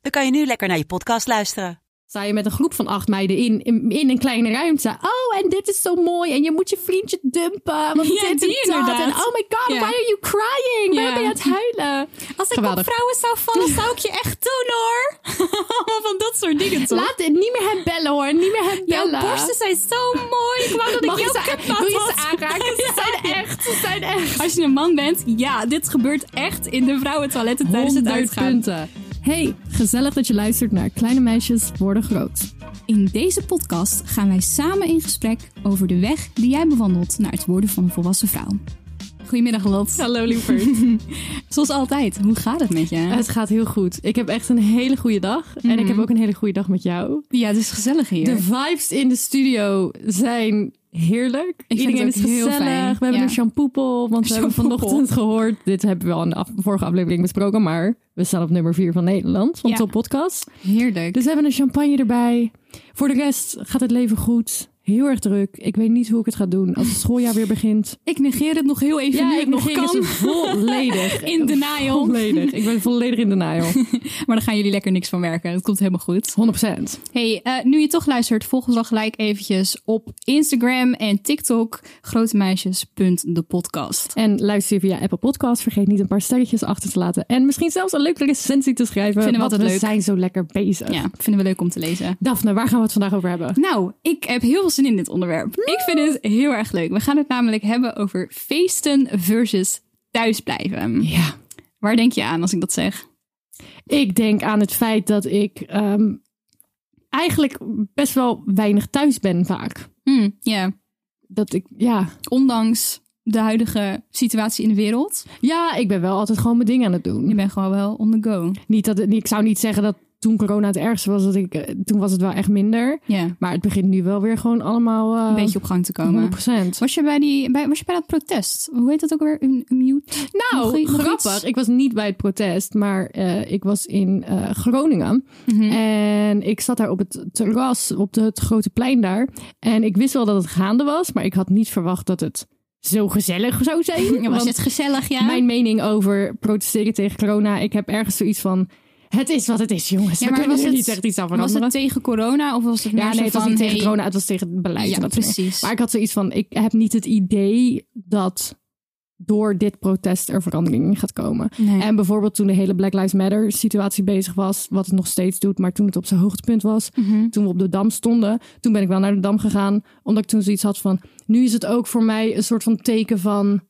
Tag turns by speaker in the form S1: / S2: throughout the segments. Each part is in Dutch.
S1: dan kan je nu lekker naar je podcast luisteren.
S2: sta je met een groep van acht meiden in, in, in een kleine ruimte. Oh, en dit is zo mooi. En je moet je vriendje dumpen. Want
S3: Ja,
S2: dit
S3: die
S2: en dat.
S3: inderdaad.
S2: En oh my god,
S3: Ja.
S2: why are you crying? Waarom
S3: Ja.
S2: ben je aan het huilen?
S3: Als ik
S2: Geweldig.
S3: op vrouwen zou vallen, zou ik je echt doen hoor. Allemaal van dat soort dingen toch?
S2: Laat het niet meer hem bellen hoor. Niet meer hem
S3: Jouw
S2: bellen.
S3: borsten zijn zo mooi. Ik wou dat
S2: Mag
S3: ik
S2: je
S3: jouw
S2: ze-
S3: kutmaat
S2: wil je ze
S3: had.
S2: aanraken? Ze zijn echt, ze zijn echt.
S3: Als je een man bent, ja, dit gebeurt echt in de vrouwentoiletten tijdens het
S2: 100
S3: uitgaan.
S2: punten. Hey, gezellig dat je luistert naar Kleine Meisjes Worden Groot.
S3: In deze podcast gaan wij samen in gesprek over de weg die jij bewandelt naar het worden van een volwassen vrouw. Goedemiddag Lot.
S2: Hallo lieverd.
S3: Zoals altijd, hoe gaat het met je?
S2: Het gaat heel goed. Ik heb echt een hele goede dag. En ik heb ook een hele goede dag met jou.
S3: ja, het is gezellig hier.
S2: De vibes in de studio zijn heerlijk.
S3: vind
S2: Iedereen
S3: het
S2: is
S3: ook heel
S2: gezellig.
S3: fijn.
S2: We hebben
S3: Ja.
S2: een shampoopel, want we hebben
S3: Shampoopel.
S2: vanochtend gehoord. Dit hebben we al in de af- vorige aflevering besproken, maar we staan op nummer 4 van Nederland van
S3: Ja.
S2: Top Podcast.
S3: Heerlijk.
S2: Dus we hebben een champagne erbij. Voor de rest gaat het leven goed. Heel erg druk. Ik weet niet hoe ik het ga doen als het schooljaar weer begint.
S3: ik negeer het nog heel even nu het nog
S2: negeer
S3: kan.
S2: ze volledig.
S3: In denial.
S2: Volledig. Ik ben volledig in denial. 100%.
S3: Maar daar gaan jullie lekker niks van merken. Het komt helemaal goed. Hey, eh, nu je toch luistert, volg ons dan gelijk eventjes op Instagram en TikTok. Grotemeisjes.depodcast.
S2: En luister je via Apple Podcast. Vergeet niet een paar sterretjes achter te laten. En misschien zelfs een leuke recensie te schrijven.
S3: Vinden we
S2: want
S3: altijd leuk.
S2: zijn zo lekker bezig.
S3: Ja, vinden we leuk om te lezen.
S2: Daphne, waar gaan we het vandaag over hebben?
S3: Nou, ik heb heel veel zin in dit onderwerp. Ik vind het heel erg leuk. We gaan het namelijk hebben over feesten versus thuisblijven.
S2: Ja.
S3: Waar denk je aan als ik dat zeg?
S2: Ik denk aan het feit dat ik ehm, eigenlijk best wel weinig thuis ben vaak.
S3: Hm, Ja,
S2: Dat ik, ja.
S3: ondanks de huidige situatie in de wereld.
S2: Ja, ik ben wel altijd gewoon mijn ding aan het doen.
S3: Je bent gewoon wel on the go.
S2: Niet dat, het- ik zou niet zeggen dat toen corona het ergste was. Dat ik, eh, toen was het wel echt minder.
S3: Ja,
S2: Maar het begint nu wel weer gewoon allemaal... eh,
S3: een beetje op gang te komen.
S2: 100%.
S3: Was je bij, die, bij, was je bij dat protest? Hoe heet dat ook weer? Een, een mute? Nog
S2: Nou,
S3: i- nog
S2: grappig.
S3: iets?
S2: Ik was niet bij het protest, maar eh, ik was in eh, Groningen.
S3: Mhm.
S2: En ik zat daar op het terras, op de- het grote plein daar. En ik wist wel dat het gaande was, maar ik had niet verwacht dat het zo gezellig zou zijn.
S3: Ja, was
S2: Want
S3: het gezellig, ja?
S2: mijn mening over protesteren tegen corona, ik heb ergens zoiets van... Het is wat het is, jongens.
S3: Ja,
S2: We
S3: maar
S2: kunnen
S3: was
S2: er
S3: het-
S2: niet echt iets aan
S3: was
S2: veranderen.
S3: het tegen corona of was het meer
S2: ja,
S3: zo
S2: nee, het was
S3: van,
S2: niet tegen
S3: hey,
S2: corona, het was tegen het beleid.
S3: Ja,
S2: en dat soort dingen.
S3: precies.
S2: Maar ik had zoiets van, ik heb niet het idee dat door dit protest er verandering in gaat komen.
S3: Nee.
S2: En bijvoorbeeld toen de hele Black Lives Matter situatie bezig was, wat het nog steeds doet, maar toen het op zijn hoogtepunt was,
S3: Mhm.
S2: toen we op de dam stonden, toen ben ik wel naar de dam gegaan, omdat ik toen zoiets had van, nu is het ook voor mij een soort van teken van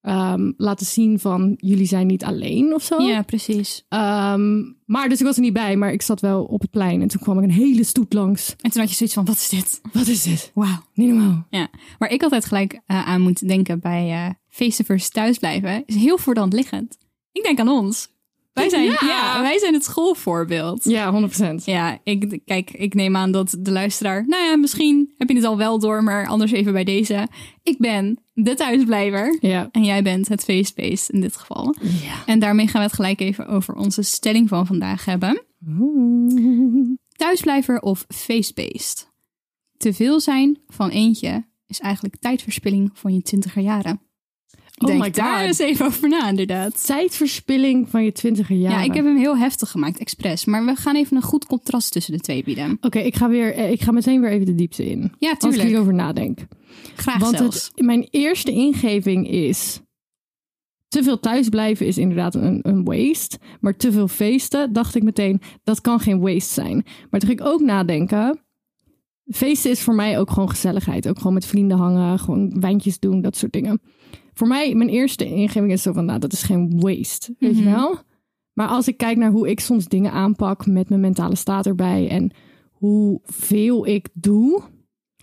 S2: ehm, laten zien van jullie zijn niet alleen of zo.
S3: Ja, precies.
S2: Ehm, maar dus ik was er niet bij, maar ik zat wel op het plein en toen kwam ik een hele stoet langs.
S3: En toen had je zoiets van, wat is dit?
S2: Wat is dit?
S3: Wauw.
S2: Niet normaal.
S3: Ja, waar ik altijd gelijk eh, aan moet denken bij eh, feesten versus thuisblijven, is heel voor de hand liggend. Ik denk aan ons. Wij zijn,
S2: Ja.
S3: ja. wij zijn het schoolvoorbeeld.
S2: Ja, 100%.
S3: Ja, ik, kijk, ik neem aan dat de luisteraar, nou ja, misschien heb je het al wel door, maar anders even bij deze. Ik ben de thuisblijver.
S2: Ja.
S3: En jij bent het feestbeest in dit geval. En daarmee gaan we het gelijk even over onze stelling van vandaag hebben. Thuisblijver of feestbeest? Te veel zijn van eentje is eigenlijk tijdverspilling van je twintiger jaren.
S2: Oh
S3: Denk
S2: my God.
S3: daar eens even over na, inderdaad.
S2: Tijdverspilling van je twintiger jaren.
S3: Ja, ik heb hem heel heftig gemaakt, expres. Maar we gaan even een goed contrast tussen de twee bieden.
S2: Oké, ik ga weer. eh, Ik ga meteen weer even de diepte in.
S3: Ja,
S2: Als ik
S3: tuurlijk.
S2: hierover nadenk.
S3: Graag
S2: Want
S3: zelfs.
S2: het, mijn eerste ingeving is. Te veel thuisblijven is inderdaad een, een waste. Maar te veel feesten, dacht ik meteen, dat kan geen waste zijn. Maar toen ging ik ook nadenken. Feesten is voor mij ook gewoon gezelligheid. Ook gewoon met vrienden hangen, gewoon wijntjes doen, dat soort dingen. Voor mij, mijn eerste ingeving is zo van, nou, dat is geen waste. Weet je wel? Maar als ik kijk naar hoe ik soms dingen aanpak met mijn mentale staat erbij en hoeveel ik doe,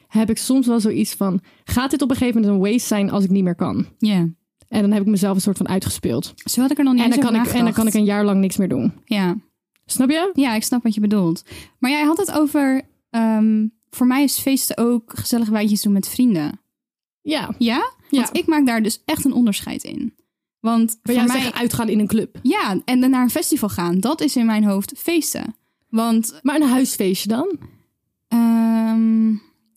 S2: heb ik soms wel zoiets van: gaat dit op een gegeven moment een waste zijn als ik niet meer kan?
S3: Ja.
S2: En dan heb ik mezelf een soort van uitgespeeld.
S3: Zo had ik er nog niet
S2: En dan,
S3: eens
S2: kan
S3: over
S2: ik, en dan kan ik
S3: nagedacht.
S2: een jaar lang niks meer doen.
S3: Ja.
S2: Snap je?
S3: Ja, ik snap wat je bedoelt. Maar jij had het over. ehm, voor mij is feesten ook gezellig wijtjes doen met vrienden.
S2: Ja.
S3: Ja? Want ik maak daar dus echt een onderscheid in. Want
S2: Wil
S3: voor
S2: jij
S3: mij.
S2: zeggen uitgaan in een club?
S3: Ja, en dan naar een festival gaan. Dat is in mijn hoofd feesten. Want
S2: Maar een huisfeestje dan?
S3: ehm,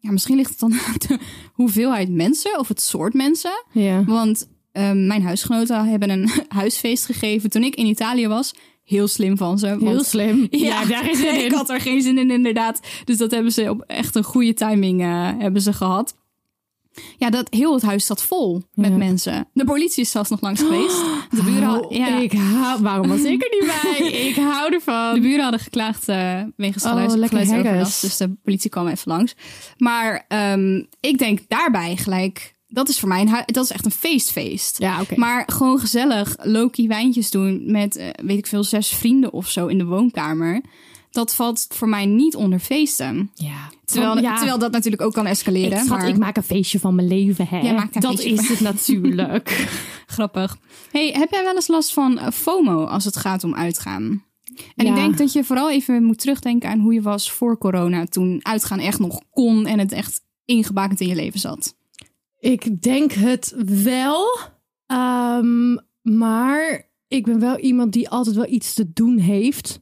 S3: ja, misschien ligt het dan aan de hoeveelheid mensen of het soort mensen.
S2: Ja.
S3: Want ehm, mijn huisgenoten hebben een huisfeest gegeven toen ik in Italië was. Heel slim van ze. want-
S2: Heel slim. Ja, daar is het
S3: ik
S2: in.
S3: had er geen zin in, inderdaad. Dus dat hebben ze op echt een goede timing eh, hebben ze gehad. Ja, dat, heel het huis zat vol met
S2: Ja.
S3: mensen. De politie is zelfs nog langs geweest. De buren, had-
S2: Oh,
S3: ja,
S2: ik hou, waarom was ik er niet bij? Ik hou ervan.
S3: de buren hadden geklaagd eh wegens
S2: Oh,
S3: geluids,
S2: lekker
S3: geluidsoverlast.
S2: haggis.
S3: Dus de politie kwam even langs. Maar ehm, ik denk daarbij gelijk... Dat is voor mij een hui- dat is echt een feestfeest.
S2: Ja, oké.
S3: Maar gewoon gezellig Loki wijntjes doen met, eh, weet ik veel, zes vrienden of zo in de woonkamer. Dat valt voor mij niet onder feesten.
S2: Ja.
S3: Terwijl,
S2: Oh, ja.
S3: terwijl dat natuurlijk ook kan escaleren.
S2: ik, schat,
S3: maar
S2: ik maak een feestje van mijn leven, hè?
S3: Jij maakt daar
S2: dat
S3: feestje
S2: is
S3: van.
S2: het natuurlijk.
S3: grappig. Hey, heb jij wel eens last van eh, FOMO als het gaat om uitgaan? En
S2: Ja.
S3: ik denk dat je vooral even moet terugdenken aan hoe je was voor corona. Toen uitgaan echt nog kon en het echt ingebakend in je leven zat.
S2: Ik denk het wel. Ehm, maar ik ben wel iemand die altijd wel iets te doen heeft.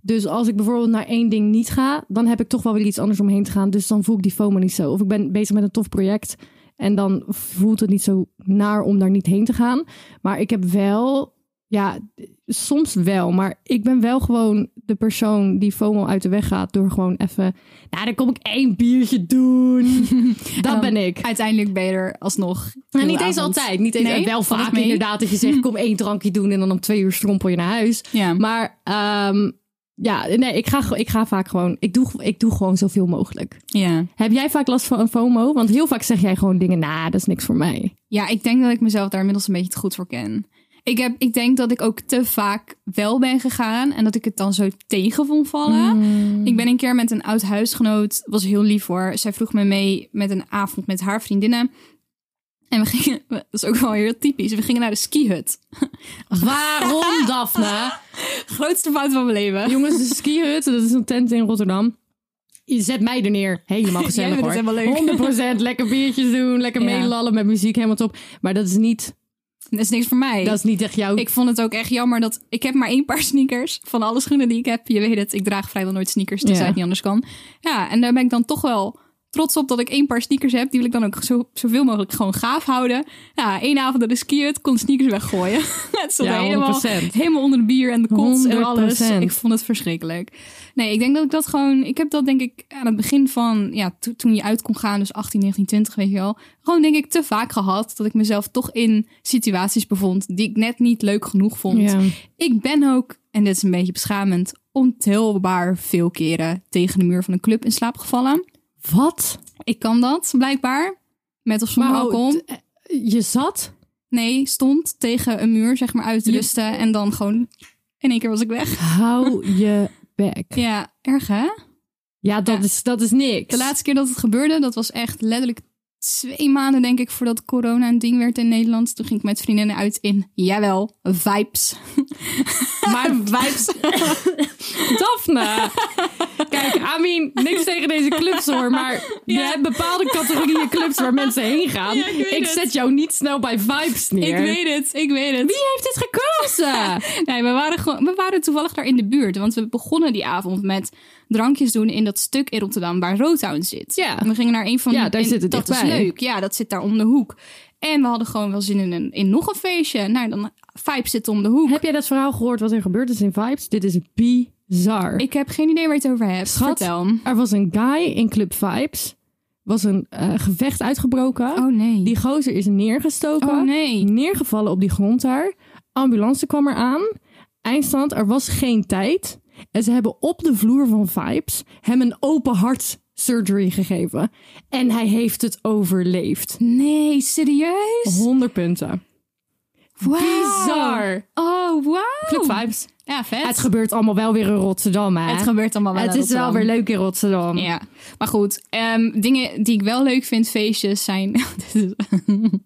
S2: Dus als ik bijvoorbeeld naar één ding niet ga, dan heb ik toch wel weer iets anders omheen te gaan. Dus dan voel ik die FOMO niet zo. Of ik ben bezig met een tof project en dan voelt het niet zo naar om daar niet heen te gaan. Maar ik heb wel, ja, soms wel. Maar ik ben wel gewoon de persoon die FOMO uit de weg gaat door gewoon even, nou, dan kom ik één biertje doen.
S3: dan-
S2: dat ben ik.
S3: Uiteindelijk ben je er alsnog.
S2: Nou,
S3: heel
S2: niet
S3: de
S2: eens
S3: avond.
S2: altijd. Niet eens,
S3: Nee?
S2: Wel
S3: Valt het
S2: vaak
S3: mee? Hm.
S2: inderdaad dat je zegt, kom één drankje doen en dan om twee uur strompel je naar huis.
S3: Ja.
S2: Maar ehm, ja, nee, ik ga, gewoon- ik ga vaak gewoon, ik doe, ik doe gewoon zoveel mogelijk.
S3: ja.
S2: Heb jij vaak last van een FOMO? Want heel vaak zeg jij gewoon dingen, nou, dat is niks voor mij.
S3: Ja, ik denk dat ik mezelf daar inmiddels een beetje te goed voor ken. Ik, heb, ik denk dat ik ook te vaak wel ben gegaan en dat ik het dan zo tegen vond vallen.
S2: Hmm.
S3: Ik ben een keer met een oud huisgenoot, was heel lief hoor. Zij vroeg me mee met een avond met haar vriendinnen. En we gingen, dat is ook wel heel typisch, we gingen naar de skihut.
S2: Waarom, Daphne?
S3: Grootste fout van mijn leven.
S2: Jongens, de skihut, dat is een tent in Rotterdam. Je zet mij er neer. Helemaal gezellig
S3: vindt
S2: hoor.
S3: het helemaal leuk.
S2: 100% lekker biertjes doen, lekker
S3: Ja.
S2: meelallen met muziek helemaal top. Maar dat is niet,
S3: Dat is niks voor mij.
S2: dat is niet echt jouw
S3: Ik vond het ook echt jammer dat ik heb maar één paar sneakers van alle schoenen die ik heb. Je weet het, ik draag vrijwel nooit sneakers, dus
S2: Ja.
S3: het niet anders kan. Ja, en daar ben ik dan toch wel trots op dat ik één paar sneakers heb. Die wil ik dan ook zo, zoveel mogelijk gewoon gaaf houden. Ja, één avond dat ik skiën, kon sneakers weggooien. het stond
S2: Ja,
S3: helemaal,
S2: 100%.
S3: helemaal onder de bier en de kots en alles.
S2: 100%.
S3: Ik vond het verschrikkelijk. Nee, ik denk dat ik dat gewoon... Ik heb dat denk ik aan het begin van... Ja, to- toen je uit kon gaan, dus 18, 19, 20, weet je wel. Gewoon denk ik te vaak gehad dat ik mezelf toch in situaties bevond... die ik net niet leuk genoeg vond.
S2: Ja.
S3: Ik ben ook, en dit is een beetje beschamend... ontelbaar veel keren tegen de muur van een club in slaap gevallen.
S2: Wat?
S3: Ik kan dat, blijkbaar. Met of zonder
S2: Maar oh,
S3: alcohol.
S2: Je zat?
S3: Nee, stond tegen een muur, zeg maar, uitrusten. En dan gewoon... In één keer was ik weg.
S2: Hou je bek. Ja,
S3: Ja, erg hè?
S2: dat,
S3: Ja.
S2: Is, dat is niks.
S3: De laatste keer dat het gebeurde, dat was echt letterlijk twee maanden, denk ik, voordat corona een ding werd in Nederland. Toen ging ik met vriendinnen uit in, jawel, vibes.
S2: Maar vibes. Daphne. Kijk, I mean, niks tegen deze clubs hoor. Maar je hebt bepaalde categorieën clubs waar mensen heen gaan.
S3: Ja, ik weet het.
S2: zet jou niet snel bij vibes neer.
S3: Ik weet het, ik weet het.
S2: Wie heeft dit gekozen?
S3: Nee, we waren, gewoon, we waren toevallig daar in de buurt. Want we begonnen die avond met drankjes doen in dat stuk in Rotterdam waar Rotown zit.
S2: Ja.
S3: En We gingen naar een van
S2: Ja,
S3: die-
S2: daar
S3: en
S2: zit het
S3: Dat is
S2: dichtbij.
S3: leuk. Ja, dat zit daar om de hoek. En we hadden gewoon wel zin in, een, in nog een feestje. Nou, dan vibes zit om de hoek.
S2: Heb jij dat verhaal gehoord wat er gebeurd is in vibes? Dit is bizar.
S3: Ik heb geen idee waar je het over hebt.
S2: Schat,
S3: Vertel.
S2: Er was een guy in Club Vibes. Was een eh, gevecht uitgebroken.
S3: Oh nee.
S2: Die gozer is neergestoken.
S3: Oh, nee.
S2: Neergevallen op die grond daar. Ambulance kwam eraan. Eindstand, er was geen tijd. En ze hebben op de vloer van Vibes hem een open hart surgery gegeven. En hij heeft het overleefd.
S3: Dus- Nee, serieus?
S2: 100 punten.
S3: Wow.
S2: Bizar.
S3: Oh, wow.
S2: Club vibes.
S3: Ja, vet.
S2: Het gebeurt allemaal wel weer in Rotterdam, hè?
S3: Het gebeurt allemaal wel.
S2: Het
S3: in
S2: is wel
S3: Rotterdam.
S2: weer leuk in Rotterdam.
S3: Ja, maar goed. ehm, dingen die ik wel leuk vind, feestjes, zijn... Oh, dit is-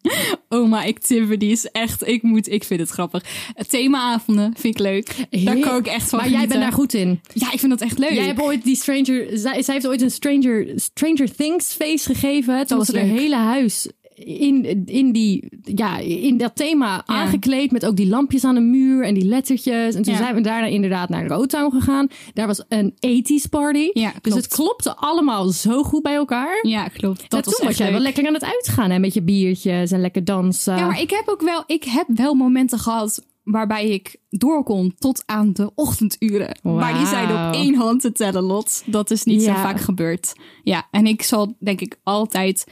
S3: Oma activities, echt. Ik moet, ik vind het grappig. Themaavonden vind ik leuk. Daar
S2: Heer-
S3: kan ik echt van
S2: Maar jij bent daar goed in.
S3: Ja, ik vind dat echt leuk.
S2: Jij hebt ooit die Stranger... Zij, zij heeft ooit een Stranger, Stranger Things feest gegeven. Hè? Toen
S3: was
S2: was het
S3: leuk.
S2: hele huis in, in, die, ja, in dat thema aangekleed. Met ook die lampjes aan de muur en die lettertjes. En toen
S3: Ja.
S2: zijn we daarna inderdaad naar Rotown gegaan. Daar was een 80s party.
S3: Ja,
S2: dus
S3: klopt.
S2: het klopte allemaal zo goed bij elkaar.
S3: Ja, klopt. Dat
S2: Dat
S3: was
S2: toen was
S3: echt
S2: jij wel
S3: leuk.
S2: lekker aan het uitgaan. Hè? Met je biertjes en lekker dansen.
S3: Ja, maar ik heb ook wel, ik heb wel momenten gehad waarbij ik door kon tot aan de ochtenduren. Maar die zijn
S2: Wauw.
S3: op één hand te tellen, Lot. Dat is niet
S2: Ja.
S3: zo vaak gebeurd. Ja, en ik zal denk ik altijd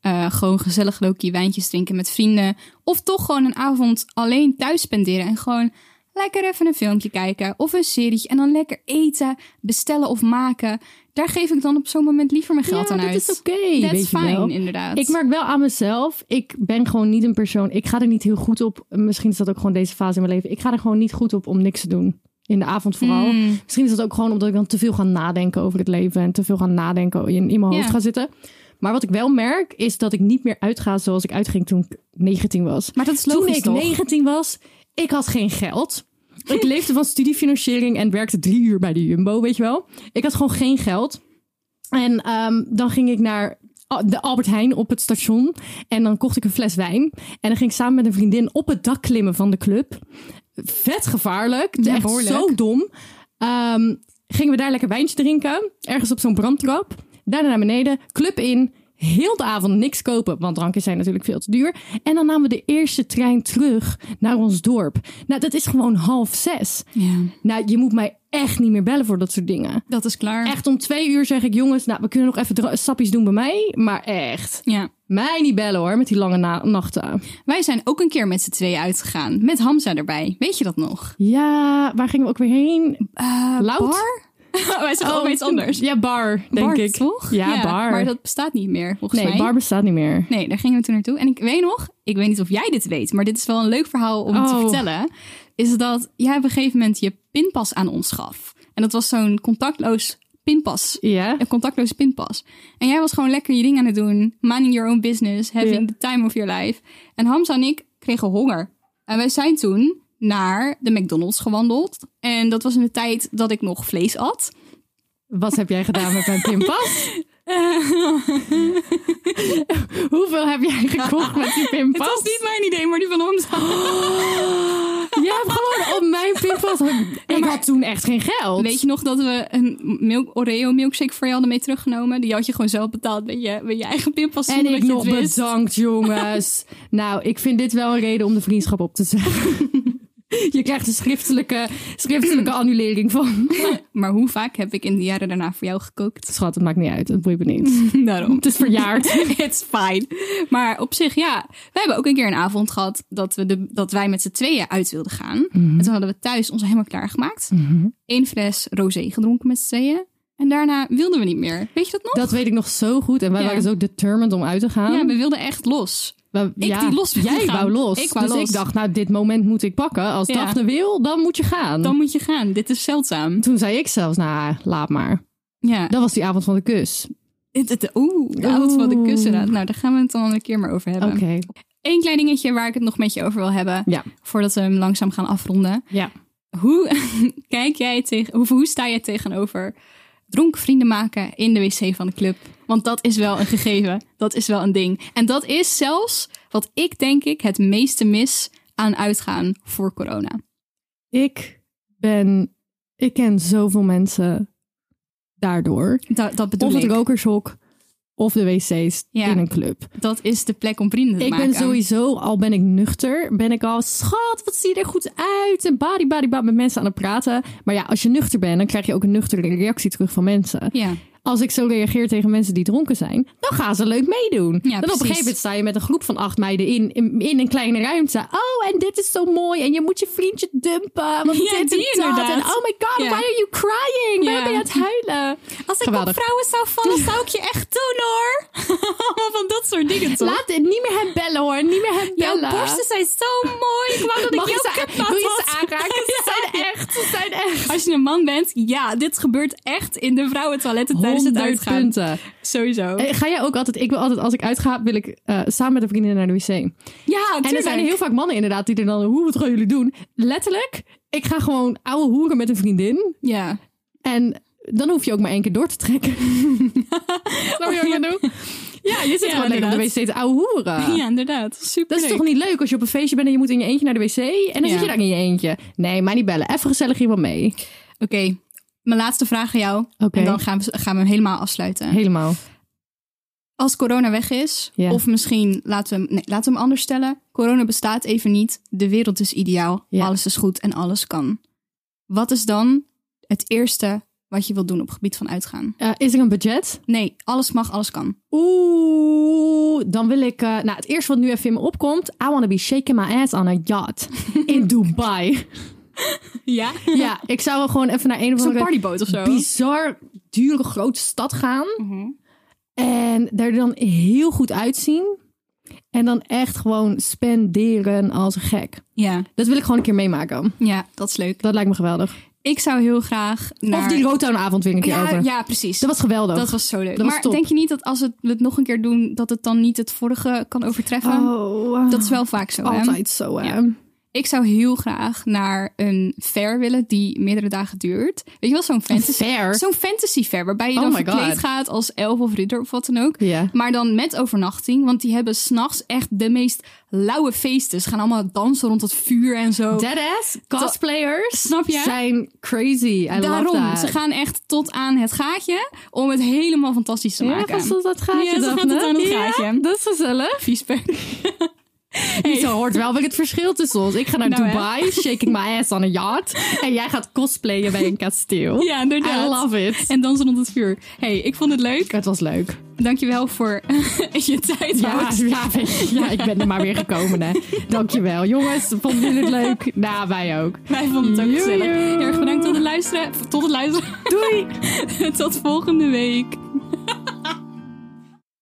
S3: eh, gewoon gezellig lokie wijntjes drinken met vrienden. Of toch gewoon een avond alleen thuis spenderen en gewoon lekker even een filmpje kijken of een serietje. En dan lekker eten, bestellen of maken. Daar geef ik dan op zo'n moment liever mijn geld
S2: Ja,
S3: aan
S2: dat
S3: uit.
S2: is oké.
S3: That's
S2: weet je
S3: fine,
S2: wel.
S3: inderdaad.
S2: Ik merk wel aan mezelf, ik ben gewoon niet een persoon. Ik ga er niet heel goed op. Misschien is dat ook gewoon deze fase in mijn leven. Ik ga er gewoon niet goed op om niks te doen. In de avond vooral.
S3: Mm. Hmm.
S2: Misschien is dat ook gewoon omdat ik dan te veel ga nadenken over het leven. En te veel ga nadenken in, in mijn
S3: Ja.
S2: hoofd ga zitten. Maar wat ik wel merk, is dat ik niet meer uitga zoals ik uitging toen ik 19 was.
S3: Maar dat is
S2: Toen
S3: logisch,
S2: ik
S3: toch?
S2: 19 was, ik had geen geld. Ik leefde van studiefinanciering en werkte drie uur bij de Jumbo, weet je wel. Ik had gewoon geen geld. En ehm, dan ging ik naar Al- de Albert Heijn op het station. En dan kocht ik een fles wijn. En dan ging ik samen met een vriendin op het dak klimmen van de club. Vet gevaarlijk.
S3: Ja,
S2: echt
S3: behoorlijk.
S2: zo dom. Ehm, gingen we daar lekker wijntje drinken. Ergens op zo'n brandtrap. Daarna naar beneden. Club in. Heel de avond niks kopen, want drankjes zijn natuurlijk veel te duur. En dan namen we de eerste trein terug naar ons dorp. Nou, dat is gewoon half zes.
S3: Ja,
S2: Nou, je moet mij echt niet meer bellen voor dat soort dingen.
S3: dat is klaar.
S2: Echt om twee uur zeg ik, jongens, nou, we kunnen nog even dra- sappies doen bij mij. Maar echt,
S3: Ja.
S2: mij niet bellen hoor, met die lange na- nachten.
S3: Wij zijn ook een keer met z'n tweeën uitgegaan. Met Hamza erbij. Weet je dat nog?
S2: Ja, waar gingen we ook weer heen? Loud?
S3: bar? Wij zijn ook iets anders.
S2: Oh, Ja, bar, denk
S3: Bar,
S2: ik.
S3: toch?
S2: Ja, bar.
S3: Maar dat bestaat niet meer, volgens
S2: nee,
S3: mij.
S2: bar bestaat niet meer.
S3: Nee, daar gingen we toen naartoe. En ik weet nog, ik weet niet of jij dit weet, maar dit is wel een leuk verhaal om te
S2: Oh.
S3: vertellen. Is dat jij op een gegeven moment je pinpas aan ons gaf. En dat was zo'n contactloos pinpas.
S2: Ja?
S3: Een contactloze pinpas. En jij was gewoon lekker je ding aan het doen. Minding your own business. Having
S2: Ja.
S3: the time of your life. En Hamza en ik kregen honger. En wij zijn toen naar de McDonald's gewandeld. En dat was in de tijd dat ik nog vlees at.
S2: Wat heb jij gedaan met mijn pinpas? Hoeveel heb jij gekocht met die
S3: Het
S2: pinpas?
S3: was niet mijn idee, maar die van Hamza.
S2: Jij hebt gewoon op mijn pinpas... Ik had toen echt geen geld.
S3: Weet je nog dat we een milk, Oreo milkshake voor je hadden mee teruggenomen? Die had je gewoon zelf betaald met je, met je eigen pinpas.
S2: En
S3: zonder
S2: ik
S3: dat je
S2: nog
S3: het wist.
S2: bedankt, jongens. nou, ik vind dit wel een reden om de vriendschap op te zeggen. Je krijgt een schriftelijke, schriftelijke annulering van.
S3: Maar hoe vaak heb ik in de jaren daarna voor jou gekookt?
S2: Schat, het maakt niet uit. Het boeit me niet.
S3: Daarom.
S2: Het is verjaard.
S3: It's fine. Maar op zich, ja. We hebben ook een keer een avond gehad dat, we de, dat wij met z'n tweeën uit wilden gaan. En toen hadden we thuis ons helemaal klaargemaakt. Eén fles rosé gedronken met z'n tweeën. En daarna wilden we niet meer. Weet je dat nog?
S2: Dat weet ik nog zo goed. En wij
S3: Ja.
S2: waren zo determined om uit te gaan.
S3: Ja, we wilden echt los.
S2: We-
S3: ik die los wil
S2: Jij
S3: gaan.
S2: wou los.
S3: Ik wou
S2: dus
S3: los.
S2: ik dacht, nou, dit moment moet ik pakken. Als
S3: Ja.
S2: Daphne wil, dan moet je gaan.
S3: Dan moet je gaan. Dit is zeldzaam.
S2: Toen zei ik zelfs, nou, laat maar.
S3: Ja.
S2: Dat was die avond van de kus.
S3: Het- het- Oeh, de avond van de
S2: Oeh.
S3: kussen. Nou, daar gaan we het dan een andere keer maar over hebben.
S2: Oké.
S3: Eén klein dingetje waar ik het nog met je over wil hebben.
S2: Ja.
S3: Voordat we hem langzaam gaan afronden.
S2: Ja.
S3: Hoe, kijk jij tegen, hoe, hoe sta jij tegenover dronken vrienden maken in de wc van de club? Want dat is wel een gegeven. Dat is wel een ding. En dat is zelfs wat ik denk ik het meeste mis aan uitgaan voor corona.
S2: Ik ben... Ik ken zoveel mensen daardoor.
S3: Dat, dat bedoel
S2: Of het
S3: ik.
S2: rokershok of de wc's
S3: Ja.
S2: in een club.
S3: Dat is de plek om vrienden te
S2: Ik
S3: maken.
S2: ben sowieso, al ben ik nuchter, ben ik al... Schat, wat zie je er goed uit? En body, body, body met mensen aan het praten. Maar ja, als je nuchter bent, dan krijg je ook een nuchtere reactie terug van mensen.
S3: Ja,
S2: Als ik zo reageer tegen mensen die dronken zijn, dan gaan ze leuk meedoen. dan op een
S3: precies.
S2: gegeven moment sta je met een groep van acht meiden in, in, in een kleine ruimte. Oh, en dit is zo mooi. En je moet je vriendje dumpen. Want
S3: Ja,
S2: dit en
S3: die
S2: dat.
S3: inderdaad.
S2: En oh my god,
S3: Ja.
S2: why are you crying?
S3: Ja.
S2: Waarom ben je aan het huilen?
S3: Als ik
S2: Geweldig.
S3: op vrouwen zou vallen, zou ik je echt doen hoor. Allemaal van dat soort dingen toch?
S2: Laat het niet meer hem bellen hoor. Niet meer hem
S3: Jouw
S2: bellen.
S3: borsten zijn zo mooi. Ik wou dat
S2: Mag
S3: ik
S2: ik
S3: jouw
S2: ze,
S3: kut
S2: wil je
S3: had.
S2: ze aanraken? Ze zijn echt. Ze zijn echt.
S3: Als je een man bent, ja, dit gebeurt echt in de vrouwentoiletten tijdens het
S2: 100
S3: uitgaan.
S2: punten.
S3: Sowieso.
S2: Eh, Ga jij ook altijd... Ik wil altijd, als ik uitga, wil ik eh, samen met een vriendin naar de wc.
S3: ja,
S2: En er zijn heel vaak mannen inderdaad die er dan... Hoe, wat gaan jullie doen? Letterlijk, ik ga gewoon ouwe hoeren met een vriendin.
S3: Ja.
S2: En dan hoef je ook maar één keer door te trekken. Snap je wat ik bedoel? Ja, je zit
S3: Ja,
S2: gewoon lekker op de wc
S3: inderdaad.
S2: te ouwe hoeren.
S3: ja, inderdaad. Super.
S2: Dat is toch niet leuk als je op een feestje bent en je moet in je eentje naar de wc en dan
S3: Ja.
S2: zit je daar in je eentje. Nee, mij niet bellen. Even gezellig iemand mee.
S3: Oké, mijn laatste vraag aan jou.
S2: Oké.
S3: En dan gaan we, gaan we hem helemaal afsluiten.
S2: Helemaal.
S3: Als corona weg is,
S2: Ja.
S3: of misschien laten we, hem, nee, laten we hem anders stellen. Corona bestaat even niet. De wereld is ideaal.
S2: Ja.
S3: Alles is goed en alles kan. Wat is dan het eerste wat je wilt doen op het gebied van uitgaan?
S2: Eh, is er een budget?
S3: Nee, alles mag, alles kan.
S2: Oeh, dan wil ik... eh, nou, het eerste wat nu even in me opkomt. I wanna be shaking my ass on a yacht in Dubai.
S3: Ja?
S2: ja, ik zou wel gewoon even naar een of
S3: Zo'n
S2: andere
S3: partyboot of zo. Mhm.
S2: bizar dure grote stad gaan. En daar dan heel goed uitzien. En dan echt gewoon spenderen als een gek.
S3: Ja,
S2: Dat wil ik gewoon een keer meemaken.
S3: ja, dat is leuk.
S2: Dat lijkt me geweldig.
S3: Ik zou heel graag naar...
S2: Of die Rotown-avond weer een keer
S3: ja,
S2: over.
S3: ja, precies.
S2: Dat was geweldig.
S3: Dat was zo leuk.
S2: Dat was
S3: maar
S2: top.
S3: denk je niet dat als we het nog een keer doen, dat het dan niet het vorige kan overtreffen?
S2: oh,
S3: Dat is wel vaak zo. hè?
S2: altijd zo. Hè?
S3: Ik zou heel graag naar een fair willen die meerdere dagen duurt. Weet je wel, zo'n fantasy
S2: fair?
S3: Zo'n fantasy fair, waarbij je
S2: Oh
S3: dan
S2: my
S3: verkleed
S2: God.
S3: gaat als elf of ridder of wat dan ook.
S2: Ja.
S3: Maar dan met overnachting, want die hebben s'nachts echt de meest lauwe feesten. Ze gaan allemaal dansen rond het vuur en zo.
S2: Deadass cosplayers
S3: Snap je?
S2: zijn crazy. I love
S3: Daarom,
S2: that.
S3: ze gaan echt tot aan het gaatje om het helemaal fantastisch te
S2: ja,
S3: maken.
S2: vast tot dat gaatje,
S3: Ja, ze gaan
S2: Daphne.
S3: tot aan het
S2: Ja,
S3: gaatje.
S2: dat is gezellig.
S3: Viesperk.
S2: Zo hoort wel weer het verschil tussen ons. Ik ga naar
S3: Nou, hè.
S2: Dubai, shaking my ass on a yacht. En jij gaat cosplayen bij een kasteel.
S3: Ja, inderdaad.
S2: I love it.
S3: En dansen rond het vuur. hey, ik vond het leuk.
S2: Het was leuk.
S3: Dankjewel voor je tijd.
S2: Ja,
S3: Wout.
S2: ja, ja, ik ben er maar weer gekomen, hè. Dankjewel. Jongens, vonden jullie het leuk? Nou, wij ook.
S3: Wij vonden het ook
S2: Joejoe.
S3: gezellig. Heel erg bedankt tot het luisteren. Tot het luisteren.
S2: Doei!
S3: tot volgende week.